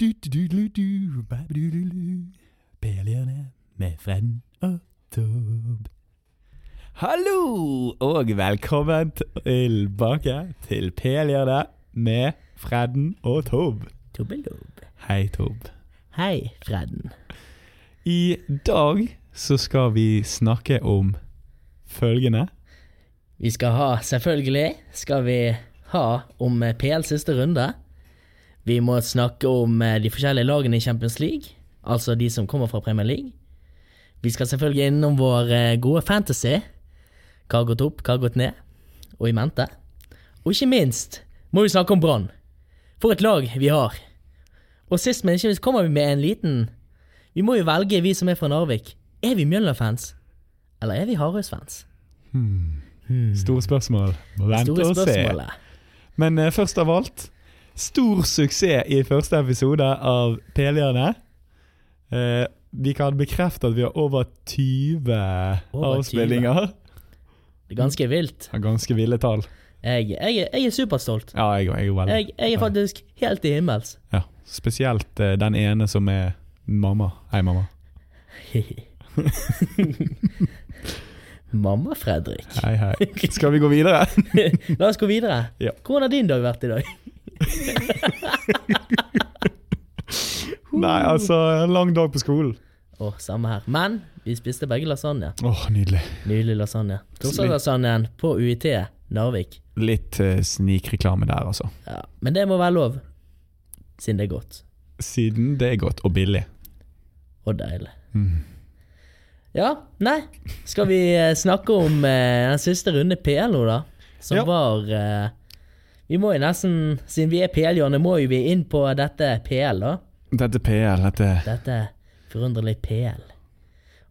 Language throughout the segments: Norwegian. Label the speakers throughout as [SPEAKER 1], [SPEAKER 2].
[SPEAKER 1] Ba-ba-du-li-du-du-du-du-du, ba-ba-du-lu-lu. Per Bjørne med Fredden og Tob. Hallo, og velkommen tilbake til Per Bjørne med Fredden og Tob.
[SPEAKER 2] Tobbelob.
[SPEAKER 1] Hei, Tob.
[SPEAKER 2] Hei, Fredden.
[SPEAKER 1] I dag så skal vi snakke om følgende.
[SPEAKER 2] Vi skal ha, selvfølgelig, skal vi ha om eh, PL siste runde. Vi må snakke om eh, de forskjellige lagene i Champions League, altså de som kommer fra Premier League. Vi skal selvfølgelig innom vår eh, gode fantasy. Hva har gått opp, hva har gått ned, og i mente. Og ikke minst må vi snakke om Brann. For et lag vi har. Og sist, men ikke minst, kommer vi med en liten Vi må jo velge, vi som er fra Narvik. Er vi Mjølner-fans, eller er vi Harøys-fans?
[SPEAKER 1] Store spørsmål. Vent
[SPEAKER 2] Store
[SPEAKER 1] og se.
[SPEAKER 2] spørsmålet.
[SPEAKER 1] Men eh, først av alt, stor suksess i første episode av Pelerne. Eh, vi kan bekrefte at vi har over 20
[SPEAKER 2] Over
[SPEAKER 1] avspillinger.
[SPEAKER 2] Det er ganske vilt.
[SPEAKER 1] Ganske ville tall.
[SPEAKER 2] Jeg, jeg, er- jeg er superstolt.
[SPEAKER 1] Ja, jeg, jeg er veldig.
[SPEAKER 2] Jeg, jeg er faktisk helt i himmels.
[SPEAKER 1] Ja, spesielt eh, den ene som er mamma. Hei, mamma.
[SPEAKER 2] Mamma Fredrik.
[SPEAKER 1] Hei, hei. Skal vi gå videre?
[SPEAKER 2] La oss gå videre.
[SPEAKER 1] Ja.
[SPEAKER 2] Hvordan har din dag vært i dag?
[SPEAKER 1] Nei, altså, en lang dag på skolen.
[SPEAKER 2] Å, samme her. Men vi spiste begge lasagne.
[SPEAKER 1] Åh, nydelig.
[SPEAKER 2] Nylig lasagne. Torsdagslasagnen på UiT Narvik.
[SPEAKER 1] Litt eh, snikreklame der, altså.
[SPEAKER 2] Ja, men det må være lov. Siden det er godt.
[SPEAKER 1] Siden det er godt og billig.
[SPEAKER 2] Og deilig. Ja, nei. Skal vi eh, snakke om eh, den siste runde PL nå, da? Som
[SPEAKER 1] Ja.
[SPEAKER 2] var eh, Vi må jo nesten, siden vi er PL-hjørnet, må jo vi inn på dette PL, da.
[SPEAKER 1] Dette PL, dette
[SPEAKER 2] Dette forunderlig PL.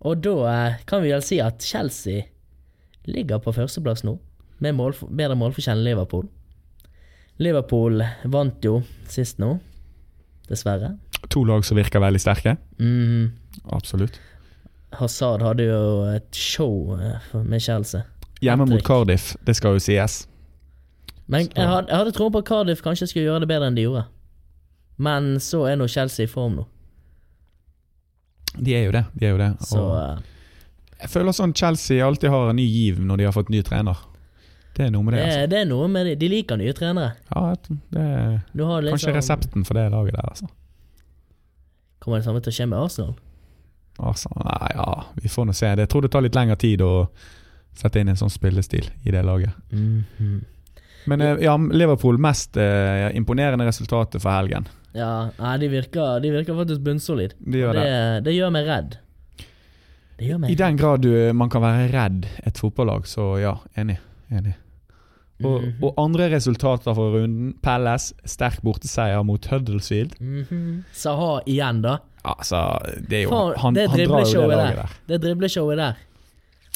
[SPEAKER 2] Og da eh, kan vi vel si at Chelsea ligger på førsteplass nå, med mål, bedre målforskjell enn Liverpool. Liverpool vant jo sist nå, dessverre.
[SPEAKER 1] To lag som virker veldig sterke.
[SPEAKER 2] Mm,
[SPEAKER 1] Absolutt.
[SPEAKER 2] Hazard hadde jo et show eh, for- med Chelsea.
[SPEAKER 1] Hjemme mot
[SPEAKER 2] Patrick.
[SPEAKER 1] Cardiff, det skal jo sies.
[SPEAKER 2] Men jeg hadde, jeg hadde troen på at Cardiff kanskje skulle gjøre det bedre enn de gjorde. Men så er nå Chelsea i form nå.
[SPEAKER 1] De er jo det. de er jo det. Og
[SPEAKER 2] Så eh,
[SPEAKER 1] Jeg føler sånn Chelsea alltid har en ny giv når de har fått ny trener. Det er noe med
[SPEAKER 2] det,
[SPEAKER 1] det. altså.
[SPEAKER 2] er- det er noe med de, de liker nye trenere.
[SPEAKER 1] Ja, det er
[SPEAKER 2] Nå har det
[SPEAKER 1] kanskje
[SPEAKER 2] liksom,
[SPEAKER 1] resepten for det laget der, altså.
[SPEAKER 2] Kommer det samme til å skje med Arsenal?
[SPEAKER 1] altså nei, ja, vi får nå se. Jeg tror det tar litt lengre tid å sette inn en sånn spillestil i det laget. Mhm. Men eh, ja, Liverpool mest eh, imponerende resultatet for helgen.
[SPEAKER 2] Ja, nei, de virker, de virker faktisk bunnsolid.
[SPEAKER 1] De gjør
[SPEAKER 2] det,
[SPEAKER 1] det.
[SPEAKER 2] det gjør meg redd. Det gjør
[SPEAKER 1] I
[SPEAKER 2] meg
[SPEAKER 1] den grad du, man kan være redd et fotballag, så ja, enig. enig. Og,
[SPEAKER 2] Mhm.
[SPEAKER 1] og andre resultater fra runden. Pelles, sterk borteseier mot Huddersfield.
[SPEAKER 2] Mhm. Saha igjen, da.
[SPEAKER 1] Altså, det er jo
[SPEAKER 2] Faen,
[SPEAKER 1] Han,
[SPEAKER 2] det
[SPEAKER 1] han drar jo det
[SPEAKER 2] dribleshowet
[SPEAKER 1] laget
[SPEAKER 2] der.
[SPEAKER 1] der.
[SPEAKER 2] Det dribleshowet der.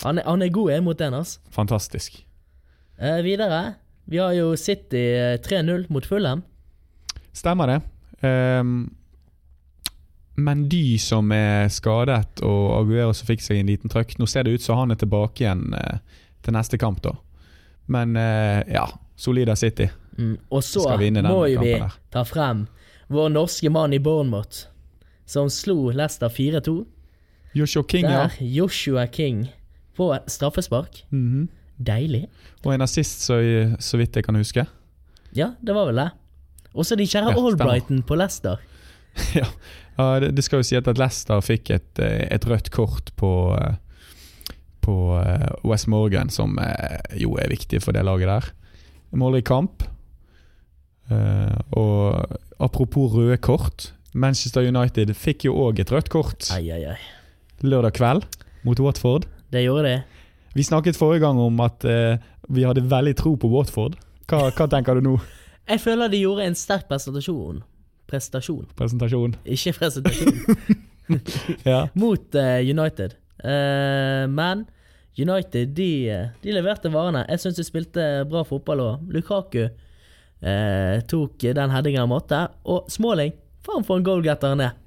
[SPEAKER 2] Han er, han er god jeg, mot den, altså.
[SPEAKER 1] Fantastisk.
[SPEAKER 2] Eh, videre. Vi har jo City eh, 3-0 mot Fulham.
[SPEAKER 1] Stemmer det. Ehm, men de som er skadet, og Aguero som fikk seg en liten trøkk Nå ser det ut som han er tilbake igjen eh, til neste kamp, da. Men eh, ja, solida City.
[SPEAKER 2] Mm. Og så
[SPEAKER 1] Skal vinne den
[SPEAKER 2] må jo vi
[SPEAKER 1] kampen der.
[SPEAKER 2] ta frem vår norske mann i Bournemouth, som slo Leicester 4-2.
[SPEAKER 1] Joshua King, ja.
[SPEAKER 2] Der Joshua King på straffespark.
[SPEAKER 1] Mhm.
[SPEAKER 2] Deilig.
[SPEAKER 1] Og en assist, så, så vidt jeg kan huske.
[SPEAKER 2] Ja, det var vel det. Og så de
[SPEAKER 1] Ja,
[SPEAKER 2] kjære
[SPEAKER 1] stemmer.
[SPEAKER 2] Albrighton på Leicester.
[SPEAKER 1] ja. Ja, det, det skal jo si at at Leicester fikk et, eh, et rødt kort på eh, På eh, West Morgan, som eh, jo er viktig for det laget der. Måler i kamp. Eh, Og apropos røde kort. Manchester United fikk jo òg et rødt kort
[SPEAKER 2] Ai, ai, ai.
[SPEAKER 1] lørdag kveld mot Watford.
[SPEAKER 2] Det gjorde de.
[SPEAKER 1] Vi snakket forrige gang om at eh, vi hadde veldig tro på Watford. Hva, hva tenker du nå?
[SPEAKER 2] Jeg føler de gjorde en sterk presentasjon. Prestasjon.
[SPEAKER 1] Presentasjon.
[SPEAKER 2] Ikke presentasjon.
[SPEAKER 1] Ja.
[SPEAKER 2] Mot eh, United. Eh, men United, de, eh, de leverte varene. Jeg syns de spilte bra fotball òg. Lukaku eh, tok den headingen han måtte. Og Småling, faen for en goalgetter han er.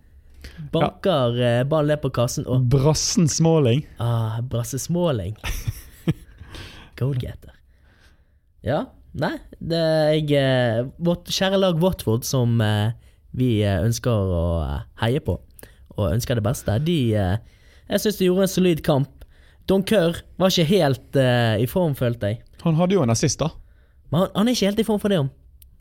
[SPEAKER 2] Banker eh, ballen ned på kassen, og
[SPEAKER 1] Brassen Småling.
[SPEAKER 2] Ah, Brasse Småling. Goalgetter. Ja, nei det, jeg, eh, Vårt kjære lag Watford som eh, vi eh, ønsker å eh, heie på og ønsker det beste, de eh, Jeg syns de gjorde en solid kamp. Donkør var ikke helt eh, i form, følte jeg.
[SPEAKER 1] Han hadde jo en assist, da.
[SPEAKER 2] Men han, han er ikke helt i form for det om.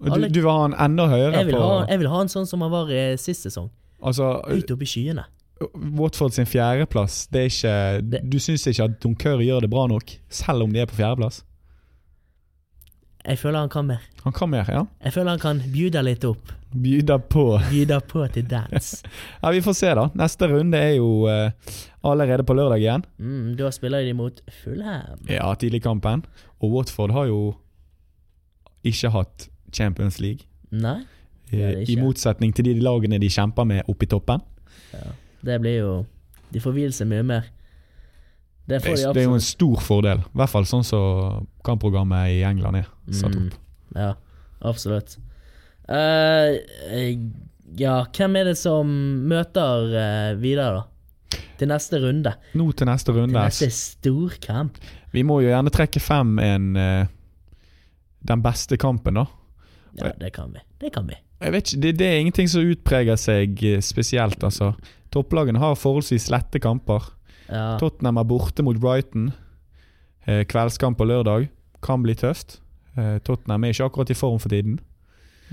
[SPEAKER 1] Og Du,
[SPEAKER 2] Alle-
[SPEAKER 1] du vil ha han enda høyere
[SPEAKER 2] Jeg vil,
[SPEAKER 1] på
[SPEAKER 2] ha, jeg vil ha en sånn som han var eh, sist sesong.
[SPEAKER 1] Altså,
[SPEAKER 2] Høyt oppe i skyene.
[SPEAKER 1] Watford sin fjerdeplass, det er ikke
[SPEAKER 2] Det-
[SPEAKER 1] Du syns ikke at Dunker gjør det bra nok, selv om de er på fjerdeplass?
[SPEAKER 2] Jeg føler han kan mer.
[SPEAKER 1] Han kan mer, ja.
[SPEAKER 2] Jeg føler han kan bjuda litt opp.
[SPEAKER 1] Byder på.
[SPEAKER 2] Bjuda på til dans.
[SPEAKER 1] Ja, Vi får se, da. Neste runde er jo eh, allerede på lørdag igjen.
[SPEAKER 2] Mm, da spiller de mot Fulham.
[SPEAKER 1] Ja, tidlig i kampen. Og Watford har jo ikke hatt Champions League.
[SPEAKER 2] Nei, Det har
[SPEAKER 1] eh,
[SPEAKER 2] de
[SPEAKER 1] I
[SPEAKER 2] ikke.
[SPEAKER 1] motsetning til de lagene de kjemper med oppe i toppen.
[SPEAKER 2] det blir jo De får hvile seg mye mer. Det
[SPEAKER 1] Det
[SPEAKER 2] får de
[SPEAKER 1] er, det er jo en
[SPEAKER 2] absolutt.
[SPEAKER 1] stor fordel. I hvert fall sånn som kampprogrammet i England er satt
[SPEAKER 2] Mm.
[SPEAKER 1] opp.
[SPEAKER 2] Ja, absolutt. Eh, eh, ja, hvem er det som møter eh, videre, da? Til neste runde.
[SPEAKER 1] Nå til neste
[SPEAKER 2] Til
[SPEAKER 1] runde.
[SPEAKER 2] neste storkamp.
[SPEAKER 1] Vi må jo gjerne trekke frem en eh, den beste kampen, da.
[SPEAKER 2] Ja, det kan vi. Det kan vi.
[SPEAKER 1] Jeg vet ikke, det, det er ingenting som utpreger seg eh, spesielt, altså. Topplagene har forholdsvis lette kamper.
[SPEAKER 2] Ja,
[SPEAKER 1] Tottenham er borte mot Brighton. Eh, kveldskamp på lørdag kan bli tøft. Eh, Tottenham er ikke akkurat i form for tiden.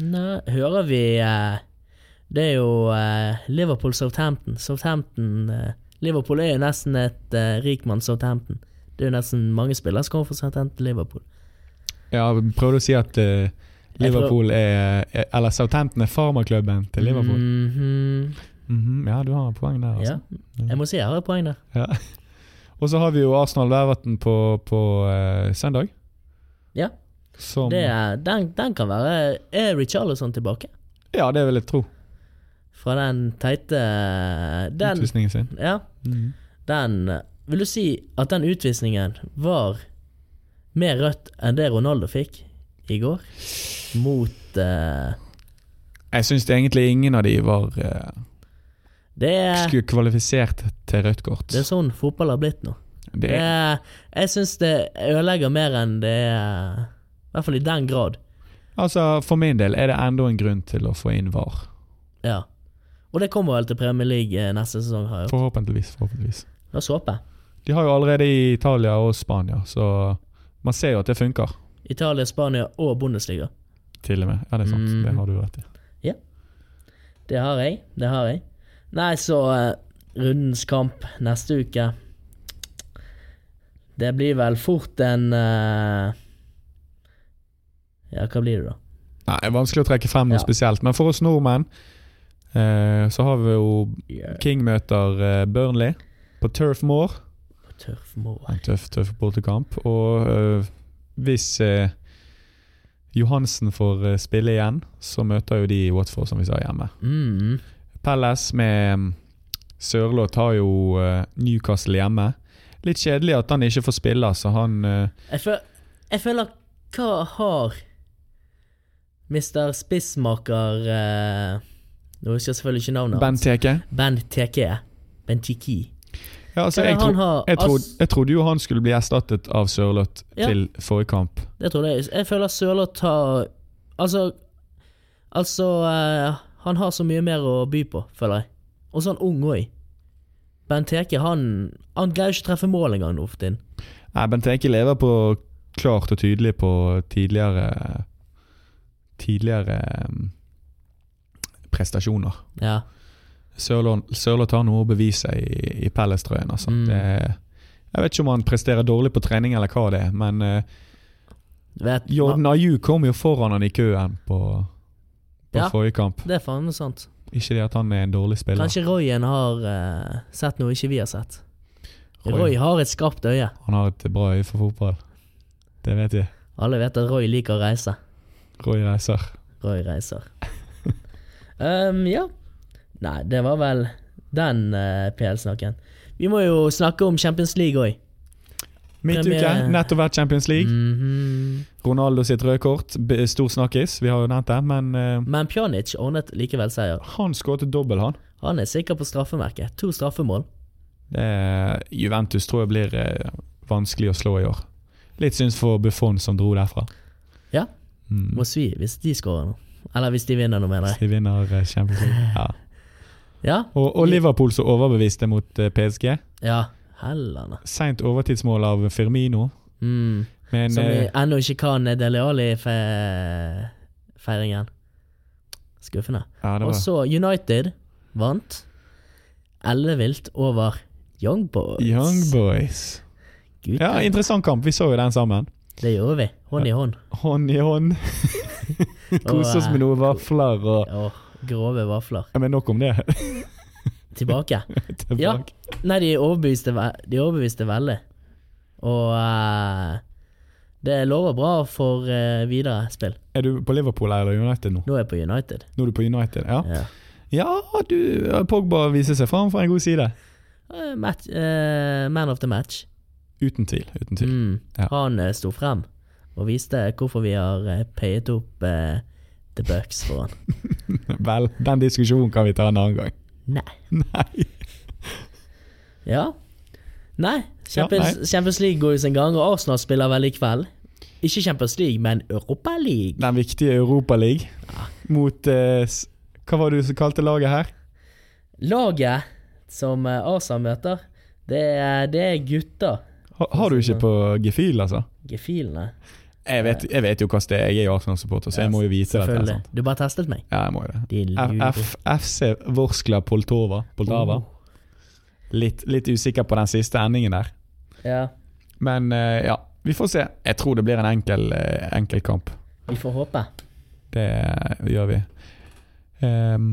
[SPEAKER 2] Nei, hører vi eh, Det er jo eh, Liverpool-Southampton. Southampton eh, Liverpool er jo nesten et uh, rikmann-Southampton. Det er jo nesten mange spillere som kommer fra Southampton-Liverpool.
[SPEAKER 1] Ja, prøvde å si at eh,
[SPEAKER 2] Jeg prøv-
[SPEAKER 1] Liverpool er, er Eller Southampton er farmaklubben til Liverpool.
[SPEAKER 2] Mhm.
[SPEAKER 1] Mhm, ja, du har et poeng der, altså.
[SPEAKER 2] Ja, jeg må si jeg har et poeng der.
[SPEAKER 1] Ja. Og så har vi jo Arsenal Vervatn på, på eh, søndag.
[SPEAKER 2] Ja,
[SPEAKER 1] Som,
[SPEAKER 2] det er, den, den kan være Er Richarlison tilbake?
[SPEAKER 1] Ja, det vil jeg tro.
[SPEAKER 2] Fra den teite eh, Den Mm.
[SPEAKER 1] Utvisningen sin.
[SPEAKER 2] Ja, den Vil du si at den utvisningen var mer rødt enn det Ronaldo fikk i går? Mot eh,
[SPEAKER 1] Jeg syns egentlig ingen av de var eh,
[SPEAKER 2] Det er,
[SPEAKER 1] skulle kvalifisert til rødt kort.
[SPEAKER 2] Eh. det er Eh. sånn fotball har blitt nå.
[SPEAKER 1] Det
[SPEAKER 2] Det
[SPEAKER 1] er,
[SPEAKER 2] er, jeg syns det ødelegger mer enn det er I hvert fall i den grad.
[SPEAKER 1] altså, for min del er det enda en grunn til å få inn VAR.
[SPEAKER 2] Ja. Og det kommer vel til Premier League eh, neste sesong, har jeg hørt.
[SPEAKER 1] Forhåpentligvis. forhåpentligvis.
[SPEAKER 2] La oss håpe.
[SPEAKER 1] De har jo allerede i Italia og Spania, så man ser jo at det funker.
[SPEAKER 2] Italia, Spania og Bundesliga.
[SPEAKER 1] Til og med. Ja, det er sant.
[SPEAKER 2] Mhm.
[SPEAKER 1] Det har du rett i.
[SPEAKER 2] Det har jeg. Det har jeg. Nei, så eh, rundens kamp neste uke Det blir vel fort en eh, Ja, hva blir det, da?
[SPEAKER 1] Nei, det er Vanskelig å trekke frem noe
[SPEAKER 2] Ja.
[SPEAKER 1] spesielt, men for oss nordmenn eh, så har vi jo King møter eh, Burnley på Turf Moor.
[SPEAKER 2] Tørf Moa.
[SPEAKER 1] En tøff, tøff bortekamp. Og eh, hvis eh, Johansen får eh, spille igjen, så møter jo de Watford, som vi sa hjemme.
[SPEAKER 2] Mm.
[SPEAKER 1] Palace med mm, Sørloth har jo eh, Newcastle hjemme. Litt kjedelig at han ikke får spille, så han eh,
[SPEAKER 2] Jeg, føl jeg føler Hva har Mr. Spissmaker eh, Nå husker jeg selvfølgelig ikke navnet
[SPEAKER 1] Ben
[SPEAKER 2] hans.
[SPEAKER 1] Teke.
[SPEAKER 2] Bent Teke. Bentiki.
[SPEAKER 1] Ja, altså, jeg, tro, jeg, trodde, jeg trodde jo han skulle bli erstattet av Sørloth
[SPEAKER 2] Ja.
[SPEAKER 1] til forrige kamp.
[SPEAKER 2] Det tror jeg. Jeg føler Sørloth har Altså Altså eh, Han har så mye mer å by på, føler jeg. Og så er han ung òg. Bent Teke, han Han greier ikke å treffe mål engang nå for tiden.
[SPEAKER 1] Nei, Bent Eke lever på klart og tydelig på tidligere Tidligere mm, prestasjoner.
[SPEAKER 2] Ja.
[SPEAKER 1] Sørloth Sørloth har noe å bevise i, i Palace-trøyen. Altså.
[SPEAKER 2] Mm.
[SPEAKER 1] Det er- Jeg vet ikke om han presterer dårlig på trening eller hva det er, men uh,
[SPEAKER 2] Du vet
[SPEAKER 1] Jordan Ayew kom jo foran han i køen på, på
[SPEAKER 2] Ja.
[SPEAKER 1] forrige kamp.
[SPEAKER 2] Det er faen meg sant.
[SPEAKER 1] Ikke det at han er en dårlig spiller.
[SPEAKER 2] Kanskje Royen har eh, sett noe ikke vi har sett.
[SPEAKER 1] Roy.
[SPEAKER 2] Roy. har et skarpt øye.
[SPEAKER 1] Han har et bra øye for fotball. Det vet jeg.
[SPEAKER 2] Alle vet at Roy liker å reise.
[SPEAKER 1] Roy reiser.
[SPEAKER 2] Roy reiser. um, ja. Nei, det var vel den eh, PL-snakken. Vi må jo snakke om Champions League òg.
[SPEAKER 1] Midtuke,
[SPEAKER 2] Premiere.
[SPEAKER 1] nettopp vært Champions League.
[SPEAKER 2] Mhm.
[SPEAKER 1] Ronaldo sitt røde kort, b- stor snakkis, vi har jo nevnt det, men eh,
[SPEAKER 2] Men Pjanic ordnet likevel seier.
[SPEAKER 1] han skåret dobbel, han.
[SPEAKER 2] Han er sikker på straffemerket. To straffemål.
[SPEAKER 1] Det, Juventus tror jeg blir eh, vanskelig å slå i år. Litt syns for Buffon som dro derfra.
[SPEAKER 2] Ja.
[SPEAKER 1] Mm.
[SPEAKER 2] Må svi hvis de skårer nå. Eller hvis de vinner, nå mener jeg.
[SPEAKER 1] De vinner eh, Champions League. Ja.
[SPEAKER 2] Ja.
[SPEAKER 1] Og, og Liverpool som overbeviste mot eh, PSG.
[SPEAKER 2] ja. Hellene.
[SPEAKER 1] Seint overtidsmål av Firmino.
[SPEAKER 2] Mm.
[SPEAKER 1] Men
[SPEAKER 2] Som vi
[SPEAKER 1] eh,
[SPEAKER 2] ennå ikke kan Dele Alli-feiringen. Skuffende.
[SPEAKER 1] ja, det
[SPEAKER 2] Og
[SPEAKER 1] var
[SPEAKER 2] så United vant ellevilt over Young Boys.
[SPEAKER 1] Young Boys.
[SPEAKER 2] Gud,
[SPEAKER 1] Ja, Interessant kamp. Vi så jo den sammen.
[SPEAKER 2] det gjorde vi. Hånd i hånd.
[SPEAKER 1] Hånd i hånd. Kose oss med noen vafler og
[SPEAKER 2] Åh, grove vafler.
[SPEAKER 1] ja, Men nok om det.
[SPEAKER 2] Tilbake.
[SPEAKER 1] Tilbake.
[SPEAKER 2] Ja. Nei, de overbeviste, ve- de overbeviste veldig. Og eh, det lover bra for eh, videre spill.
[SPEAKER 1] Er du på Liverpool eller United nå?
[SPEAKER 2] Nå er jeg på United.
[SPEAKER 1] Nå er du på United, ja?
[SPEAKER 2] Ja.
[SPEAKER 1] Ja, du, Pogba viser seg fram for en god side.
[SPEAKER 2] Eh, Match, eh, man of the match.
[SPEAKER 1] Uten tvil. uten tvil.
[SPEAKER 2] Mm.
[SPEAKER 1] Ja.
[SPEAKER 2] Han eh, sto frem og viste hvorfor vi har eh, payet opp eh, The Bucks for han. Mm.
[SPEAKER 1] Vel, den diskusjonen kan vi ta en annen gang.
[SPEAKER 2] Nei.
[SPEAKER 1] Nei.
[SPEAKER 2] Ja. Nei.
[SPEAKER 1] Ja,
[SPEAKER 2] Champions, Champions League går jo sin gang, og Arsenal spiller vel i kveld. Ikke Champions League, men Europa League.
[SPEAKER 1] Den viktige Europaligaen mot eh, s- Hva var det du som kalte laget her?
[SPEAKER 2] Laget som eh, Arsenal møter, det er, det er gutta.
[SPEAKER 1] Ha, har du ikke på gefühl, altså?
[SPEAKER 2] Gefilene.
[SPEAKER 1] Jeg vet, jeg vet jo hva det er. Jeg er jo Arsenal-supporter, så jeg må jo vite dette.
[SPEAKER 2] Selvfølgelig.
[SPEAKER 1] Sant?
[SPEAKER 2] Du bare testet meg.
[SPEAKER 1] Ja, jeg må jo det.
[SPEAKER 2] Din
[SPEAKER 1] F F FC Vorskla Poltova. Poltava.
[SPEAKER 2] Oh.
[SPEAKER 1] Litt, litt usikker på den siste endingen der.
[SPEAKER 2] Ja.
[SPEAKER 1] Men eh, ja, vi får se. Jeg tror det blir en enkel, eh, enkel kamp.
[SPEAKER 2] Vi får håpe.
[SPEAKER 1] Det eh, gjør vi. Ehm,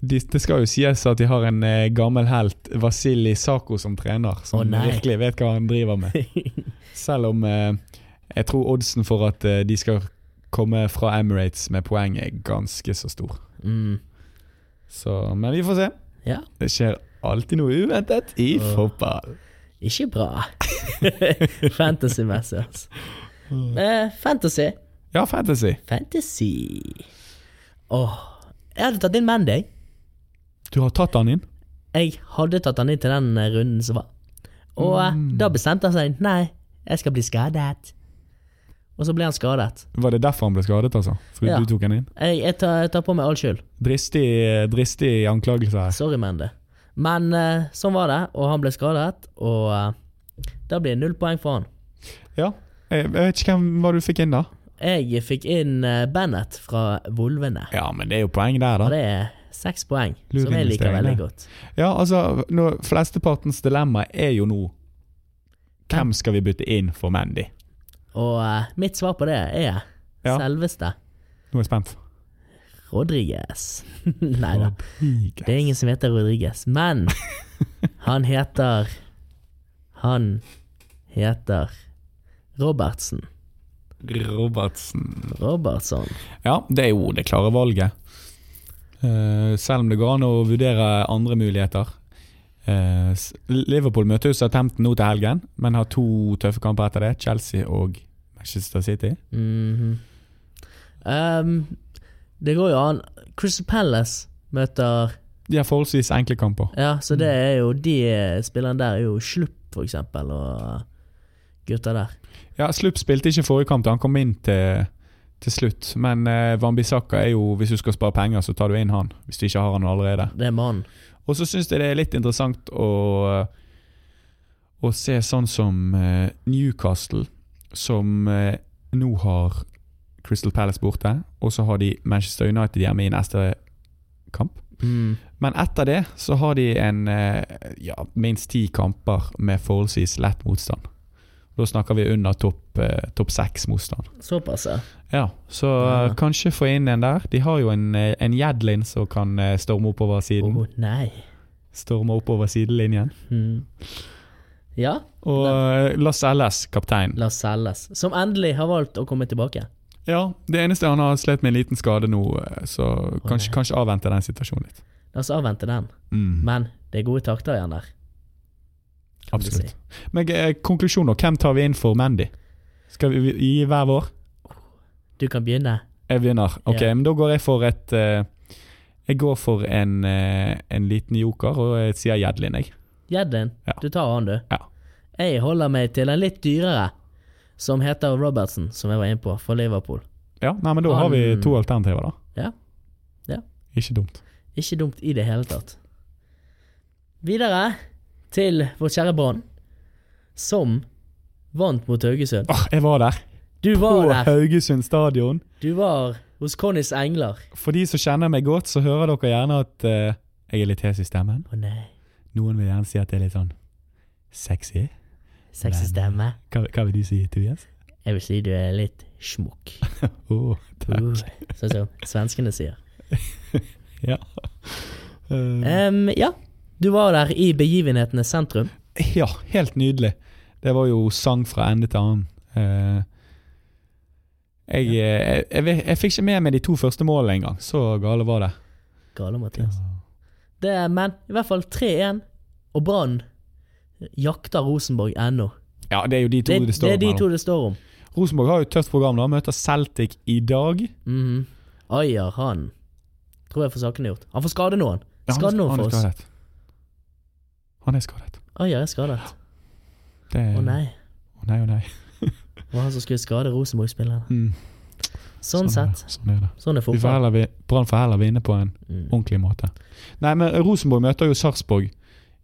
[SPEAKER 1] de, det skal jo sies at de har en eh, gammel helt, Vasili Sako, som trener. Som
[SPEAKER 2] Å, nei.
[SPEAKER 1] virkelig vet hva han driver med. Selv om eh, jeg tror oddsen for at eh, de skal komme fra Emirates med poeng, er ganske så stor.
[SPEAKER 2] Mm.
[SPEAKER 1] Så, men vi får se.
[SPEAKER 2] Ja.
[SPEAKER 1] Det skjer alltid noe uventet i
[SPEAKER 2] Åh.
[SPEAKER 1] fotball.
[SPEAKER 2] Ikke bra. Fantasy-messig, altså.
[SPEAKER 1] Mm.
[SPEAKER 2] Eh, fantasy.
[SPEAKER 1] Ja, fantasy.
[SPEAKER 2] Fantasy. Åh. Jeg hadde tatt inn Mandy.
[SPEAKER 1] Du har tatt han inn.
[SPEAKER 2] Jeg hadde tatt han inn til den eh, runden som var. Og eh,
[SPEAKER 1] Mm.
[SPEAKER 2] da bestemte han seg Nei, jeg skal bli skadet. Og så ble han skadet.
[SPEAKER 1] Var det derfor han ble skadet, altså? Fordi
[SPEAKER 2] Ja.
[SPEAKER 1] du tok han inn?
[SPEAKER 2] Jeg, jeg, tar, jeg tar på meg all skyld.
[SPEAKER 1] Dristig, dristig anklagelse her.
[SPEAKER 2] Sorry, Mandy. Men eh, sånn var det, og han ble skadet. Og eh, da blir det null poeng for han.
[SPEAKER 1] Ja. Jeg jeg vet ikke hvem var du fikk inn, da.
[SPEAKER 2] Jeg fikk inn eh, Bennett fra Volvene.
[SPEAKER 1] Ja, men det er jo poeng der,
[SPEAKER 2] Og det er seks poeng,
[SPEAKER 1] Lur
[SPEAKER 2] som jeg liker
[SPEAKER 1] investering,
[SPEAKER 2] veldig
[SPEAKER 1] det.
[SPEAKER 2] godt.
[SPEAKER 1] Ja, altså, nå, flestepartens dilemma er jo nå Hvem skal vi bytte inn for Mandy?
[SPEAKER 2] Og eh, mitt svar på det er
[SPEAKER 1] Ja.
[SPEAKER 2] selveste
[SPEAKER 1] Nå er jeg spent.
[SPEAKER 2] Rodriguez. Nei da,
[SPEAKER 1] Rodriguez.
[SPEAKER 2] det er ingen som heter Rodriguez. Men han heter Han heter Robertsen.
[SPEAKER 1] Robertsen.
[SPEAKER 2] Robertson.
[SPEAKER 1] Ja, det er jo det klare valget. Eh, selv om det går an å vurdere andre muligheter. Eh, s- Liverpool møter jo Southampton nå til helgen, men har to tøffe kamper etter det. Chelsea og Manchester City.
[SPEAKER 2] Mhm. Ehm, det går jo an. Crystal Palace møter
[SPEAKER 1] De har forholdsvis enkle kamper.
[SPEAKER 2] Ja, så det er jo de spillerne der er jo Slupp, for eksempel, og gutta der.
[SPEAKER 1] Ja, Slupp spilte ikke forrige kamp, da han kom inn til, til slutt. Men eh, Van Bissaka er jo Hvis du skal spare penger, så tar du inn han. Hvis du ikke har han allerede.
[SPEAKER 2] Det er mannen.
[SPEAKER 1] Og så syns jeg det er litt interessant å, å se sånn som eh, Newcastle, som eh, nå har Crystal Palace borte, og så har de Manchester United hjemme i neste kamp.
[SPEAKER 2] Mm.
[SPEAKER 1] Men etter det så har de en eh, ja, minst ti kamper med forholdsvis lett motstand. Da snakker vi under topp eh, topp seks-motstand.
[SPEAKER 2] Såpass, ja.
[SPEAKER 1] Ja, så
[SPEAKER 2] Ja.
[SPEAKER 1] eh, kanskje få inn en der. De har jo en, eh, en Jedlin som kan eh, storme oppover
[SPEAKER 2] Å
[SPEAKER 1] siden.
[SPEAKER 2] nei.
[SPEAKER 1] Storme oppover sidelinjen.
[SPEAKER 2] Mm. Ja,
[SPEAKER 1] Og eh, Lars Ellis, kaptein.
[SPEAKER 2] Lars Selles, som endelig har valgt å komme tilbake.
[SPEAKER 1] Ja, det eneste han har slet med en liten skade nå, eh, så kanskje,
[SPEAKER 2] nei.
[SPEAKER 1] kanskje avvente den situasjonen litt.
[SPEAKER 2] La oss avvente den.
[SPEAKER 1] Mm,
[SPEAKER 2] Men det er gode takter igjen der. kan du
[SPEAKER 1] absolutt.
[SPEAKER 2] si.
[SPEAKER 1] Men eh, konklusjoner. Hvem tar vi inn for Mandy? Skal vi gi hver vår?
[SPEAKER 2] Du kan begynne.
[SPEAKER 1] Jeg vinner. Ok,
[SPEAKER 2] Ja.
[SPEAKER 1] men da går jeg for et eh, Jeg går for en, eh, en liten joker, og jeg sier Gjedlin, jeg.
[SPEAKER 2] Gjeddin,
[SPEAKER 1] Ja.
[SPEAKER 2] du tar han, du.
[SPEAKER 1] Ja.
[SPEAKER 2] Jeg holder meg til en litt dyrere, som heter Robertson, som jeg var inne på, for Liverpool.
[SPEAKER 1] Ja, nei, men da har vi to alternativer, da.
[SPEAKER 2] Ja. Ja.
[SPEAKER 1] Ikke dumt.
[SPEAKER 2] Ikke dumt i det hele tatt. Videre til vår kjære Brann, som vant mot Haugesund.
[SPEAKER 1] Åh, jeg var der!
[SPEAKER 2] Du
[SPEAKER 1] På
[SPEAKER 2] var der!
[SPEAKER 1] Haugesund stadion.
[SPEAKER 2] Du var hos Connys engler.
[SPEAKER 1] For de som kjenner meg godt, så hører dere gjerne at eh, jeg er litt hes i stemmen.
[SPEAKER 2] Å nei,
[SPEAKER 1] Noen vil gjerne si at det er litt sånn sexy.
[SPEAKER 2] sexy stemme.
[SPEAKER 1] Hva, hva vil du si, Tobias?
[SPEAKER 2] Jeg vil si du er litt smukk.
[SPEAKER 1] Åh, takk.
[SPEAKER 2] Uh, Sånn som svenskene sier.
[SPEAKER 1] Ja. Eh,
[SPEAKER 2] Em, ja, du var der i begivenhetenes sentrum.
[SPEAKER 1] ja, helt nydelig. Det var jo sang fra ende til annen. Eh, jeg, eh, jeg, jeg, jeg fikk ikke med meg de to første målene engang. Så gale var det.
[SPEAKER 2] Gale, Mathias. Det er, men i hvert fall 3-1, og Brann jakter Rosenborg ennå.
[SPEAKER 1] Ja, det er jo de to
[SPEAKER 2] Det,
[SPEAKER 1] det,
[SPEAKER 2] det
[SPEAKER 1] står
[SPEAKER 2] er de
[SPEAKER 1] om. her
[SPEAKER 2] to
[SPEAKER 1] nå.
[SPEAKER 2] det står om.
[SPEAKER 1] Rosenborg har jo et tøft program. da, Møter Celtic i dag.
[SPEAKER 2] Mhm. Ayer, han tror jeg får sakene gjort. Han får skade noen.
[SPEAKER 1] Ja,
[SPEAKER 2] Skade
[SPEAKER 1] han,
[SPEAKER 2] noen
[SPEAKER 1] han
[SPEAKER 2] for
[SPEAKER 1] er
[SPEAKER 2] oss.
[SPEAKER 1] skadet. Han er skadet.
[SPEAKER 2] Ayer er skadet.
[SPEAKER 1] Det er-
[SPEAKER 2] Å nei.
[SPEAKER 1] Å nei, å nei.
[SPEAKER 2] Det var han som skulle skade Rosenborg-spillerne.
[SPEAKER 1] Mm, er
[SPEAKER 2] Sånn sett.
[SPEAKER 1] det, Sånn er det.
[SPEAKER 2] Sånn er
[SPEAKER 1] Vi får
[SPEAKER 2] fotball.
[SPEAKER 1] heller vi- Brann får heller vinne på en
[SPEAKER 2] Mm.
[SPEAKER 1] ordentlig måte. Nei, men Rosenborg møter jo Sarpsborg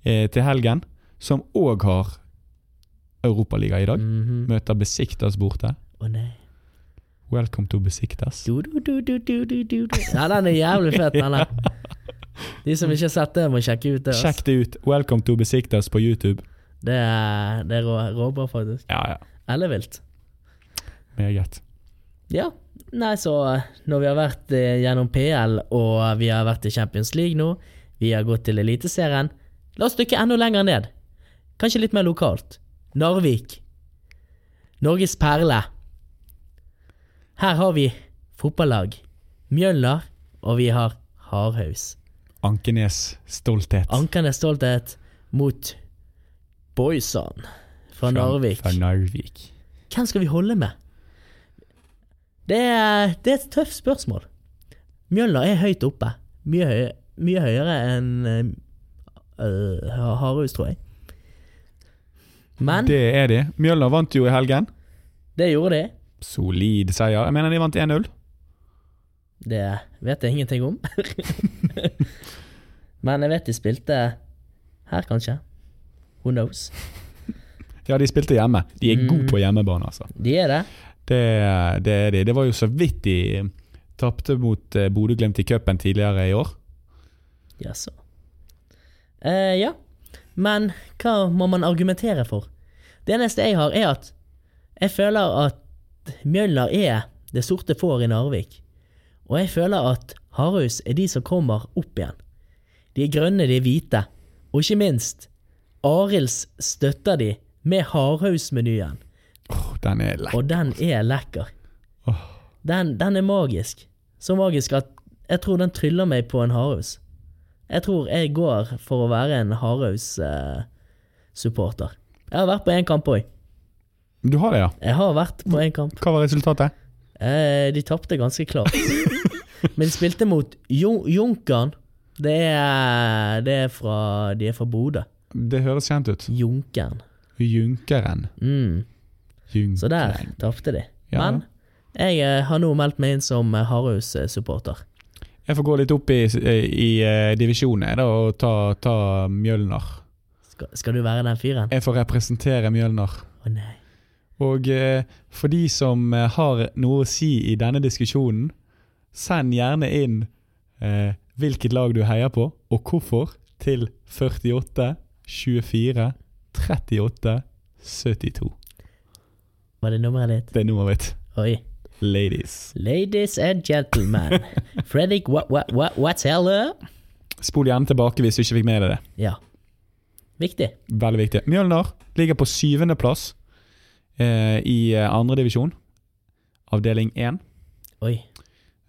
[SPEAKER 1] eh, til helgen, som òg har Europaliga i dag.
[SPEAKER 2] Mhm.
[SPEAKER 1] Møter Besiktas borte.
[SPEAKER 2] Å nei.
[SPEAKER 1] Welcome to Besiktas.
[SPEAKER 2] Du, du, du, du, du, du, du. du. Nei, den er jævlig fet, den der. De som ikke har sett det, må sjekke ut det. ass.
[SPEAKER 1] Sjekk det ut. Welcome to Besiktas på YouTube.
[SPEAKER 2] Det er, det er rå, råbra, faktisk.
[SPEAKER 1] Ja, ja.
[SPEAKER 2] Ellevilt.
[SPEAKER 1] Meget.
[SPEAKER 2] Ja. Nei, så når vi har vært eh, gjennom PL, og vi har vært i Champions League nå, vi har gått til Eliteserien, la oss dykke enda lenger ned. Kanskje litt mer lokalt. Narvik. Norges perle. Her har vi fotballag. Mjølner, og vi har Hardhaus.
[SPEAKER 1] Ankenes stolthet.
[SPEAKER 2] Ankende stolthet mot Boysan fra
[SPEAKER 1] Fra-
[SPEAKER 2] Narvik.
[SPEAKER 1] Fra Narvik.
[SPEAKER 2] Hvem skal vi holde med? Det er, det er et tøft spørsmål. Mjølner er høyt oppe. Mye, høy, mye høyere enn øh, Hardhus, tror jeg. Men det,
[SPEAKER 1] Det er de. Mjølner vant jo i helgen.
[SPEAKER 2] gjorde de.
[SPEAKER 1] Solid seier. Jeg mener de vant 1-0.
[SPEAKER 2] Det vet jeg ingenting om. Men jeg vet de spilte her, kanskje. Who knows?
[SPEAKER 1] Ja, de spilte hjemme. De
[SPEAKER 2] Mm.
[SPEAKER 1] er gode på hjemmebane, altså.
[SPEAKER 2] De er det.
[SPEAKER 1] Det, det er de. Det var jo så vidt de tapte mot eh, Bodø-Glimt i cupen tidligere i år.
[SPEAKER 2] Jaså. Eh, ja. Men hva må man argumentere for? Det eneste jeg har, er at jeg føler at Mjølner er det sorte får i Narvik. Og jeg føler at Harhus er de som kommer opp igjen. De er grønne, de er hvite. Og ikke minst, Arilds støtter de med Hardhaus-menyen.
[SPEAKER 1] Åh, den er lett.
[SPEAKER 2] Og den er lekker.
[SPEAKER 1] Åh.
[SPEAKER 2] Den, den er magisk. Så magisk at jeg tror den tryller meg på en hardhaus. Jeg tror jeg går for å være en hardhaus-supporter. jeg har vært på én kamp òg.
[SPEAKER 1] Du har det, ja.
[SPEAKER 2] Jeg har vært på én kamp.
[SPEAKER 1] Hva var resultatet?
[SPEAKER 2] Eh, de tapte ganske klart. Men de spilte mot Jun- Junkeren. Det er, det er fra De er fra Bodø.
[SPEAKER 1] Det høres kjent ut.
[SPEAKER 2] Junkeren.
[SPEAKER 1] Junkeren.
[SPEAKER 2] Mm.
[SPEAKER 1] Junkeren.
[SPEAKER 2] Så der tapte de.
[SPEAKER 1] Ja.
[SPEAKER 2] Men jeg eh, har nå meldt meg inn som eh, Hardhaus-supporter.
[SPEAKER 1] Jeg får gå litt opp i, i eh, divisjonen jeg, da, og ta, ta Mjølner.
[SPEAKER 2] Skal, skal du være den fyren?
[SPEAKER 1] Jeg får representere Mjølner.
[SPEAKER 2] Å nei.
[SPEAKER 1] Og eh, for de som eh, har noe å si i denne diskusjonen, send gjerne inn eh, hvilket lag du heier på, og hvorfor, til 48 24 38 72.
[SPEAKER 2] Var det nummeret ditt?
[SPEAKER 1] Det er nummeret mitt.
[SPEAKER 2] Oi.
[SPEAKER 1] Ladies.
[SPEAKER 2] Ladies and gentlemen. Fredrik what, what, what, Whatseller.
[SPEAKER 1] Spol gjerne tilbake hvis du ikke fikk med deg det.
[SPEAKER 2] Ja. Viktig.
[SPEAKER 1] Veldig viktig. Mjølner ligger på syvendeplass eh, i eh, andredivisjon, avdeling 1,
[SPEAKER 2] Oi.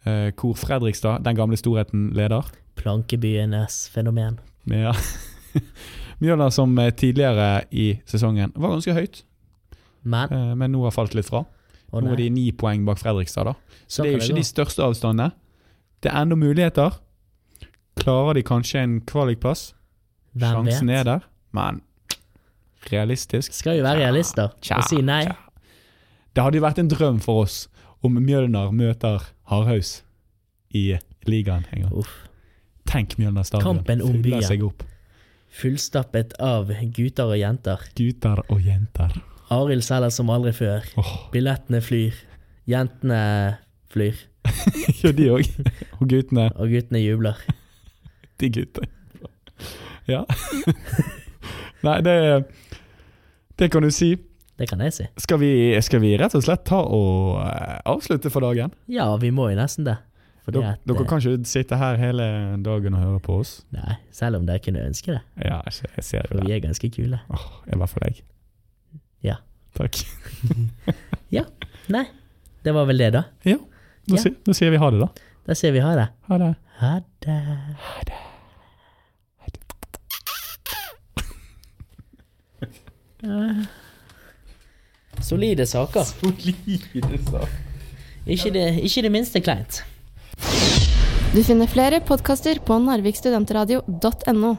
[SPEAKER 1] eh, hvor Fredrikstad, den gamle storheten, leder.
[SPEAKER 2] Plankebyenes fenomen.
[SPEAKER 1] Ja. Mjølner som eh, tidligere i sesongen var ganske høyt,
[SPEAKER 2] Men
[SPEAKER 1] eh, men nå har falt litt fra.
[SPEAKER 2] Å
[SPEAKER 1] Nå er
[SPEAKER 2] nei.
[SPEAKER 1] de ni poeng bak Fredrikstad, da. Så det er
[SPEAKER 2] Da kan
[SPEAKER 1] jo
[SPEAKER 2] det
[SPEAKER 1] ikke
[SPEAKER 2] gå.
[SPEAKER 1] de største avstandene. Det er ennå muligheter. Klarer de kanskje en kvalikplass?
[SPEAKER 2] Hvem
[SPEAKER 1] Sjansen
[SPEAKER 2] vet?
[SPEAKER 1] er der, men realistisk
[SPEAKER 2] Skal jo være realister og si nei.
[SPEAKER 1] Det hadde jo vært en drøm for oss om Mjølner møter Hardhaus i ligaen en gang.
[SPEAKER 2] Uff.
[SPEAKER 1] Tenk Mjølner stadion.
[SPEAKER 2] Kampen om
[SPEAKER 1] Fyller
[SPEAKER 2] byen.
[SPEAKER 1] seg opp.
[SPEAKER 2] Fullstappet av gutter og jenter.
[SPEAKER 1] Gutter og jenter.
[SPEAKER 2] Arild selger som aldri før.
[SPEAKER 1] Åh,
[SPEAKER 2] Billettene flyr. Jentene flyr.
[SPEAKER 1] ja, de òg. Og guttene.
[SPEAKER 2] Og guttene jubler.
[SPEAKER 1] De guttene. Ja. Nei, det Det kan du si.
[SPEAKER 2] Det kan jeg si.
[SPEAKER 1] Skal vi, skal vi rett og slett ta og eh, avslutte for dagen?
[SPEAKER 2] Ja, vi må jo nesten det. Fordi
[SPEAKER 1] Dere,
[SPEAKER 2] at
[SPEAKER 1] dere
[SPEAKER 2] eh,
[SPEAKER 1] kan ikke sitte her hele dagen og høre på oss.
[SPEAKER 2] Nei, selv om dere kunne ønske det.
[SPEAKER 1] Ja, jeg jeg ser jo
[SPEAKER 2] For
[SPEAKER 1] det.
[SPEAKER 2] vi er ganske kule.
[SPEAKER 1] Åh, I hvert fall jeg.
[SPEAKER 2] Ja.
[SPEAKER 1] Takk.
[SPEAKER 2] Nei, det var vel det, da.
[SPEAKER 1] Ja, nå,
[SPEAKER 2] Ja.
[SPEAKER 1] Sier, nå sier vi ha det, da.
[SPEAKER 2] Da sier vi ha det.
[SPEAKER 1] Ha det.
[SPEAKER 2] Ha det. Eh, Solide saker.
[SPEAKER 1] Solide sak.
[SPEAKER 2] Ikke det, ikke det minste kleint.
[SPEAKER 3] Du finner flere podkaster på narvikstudentradio.no.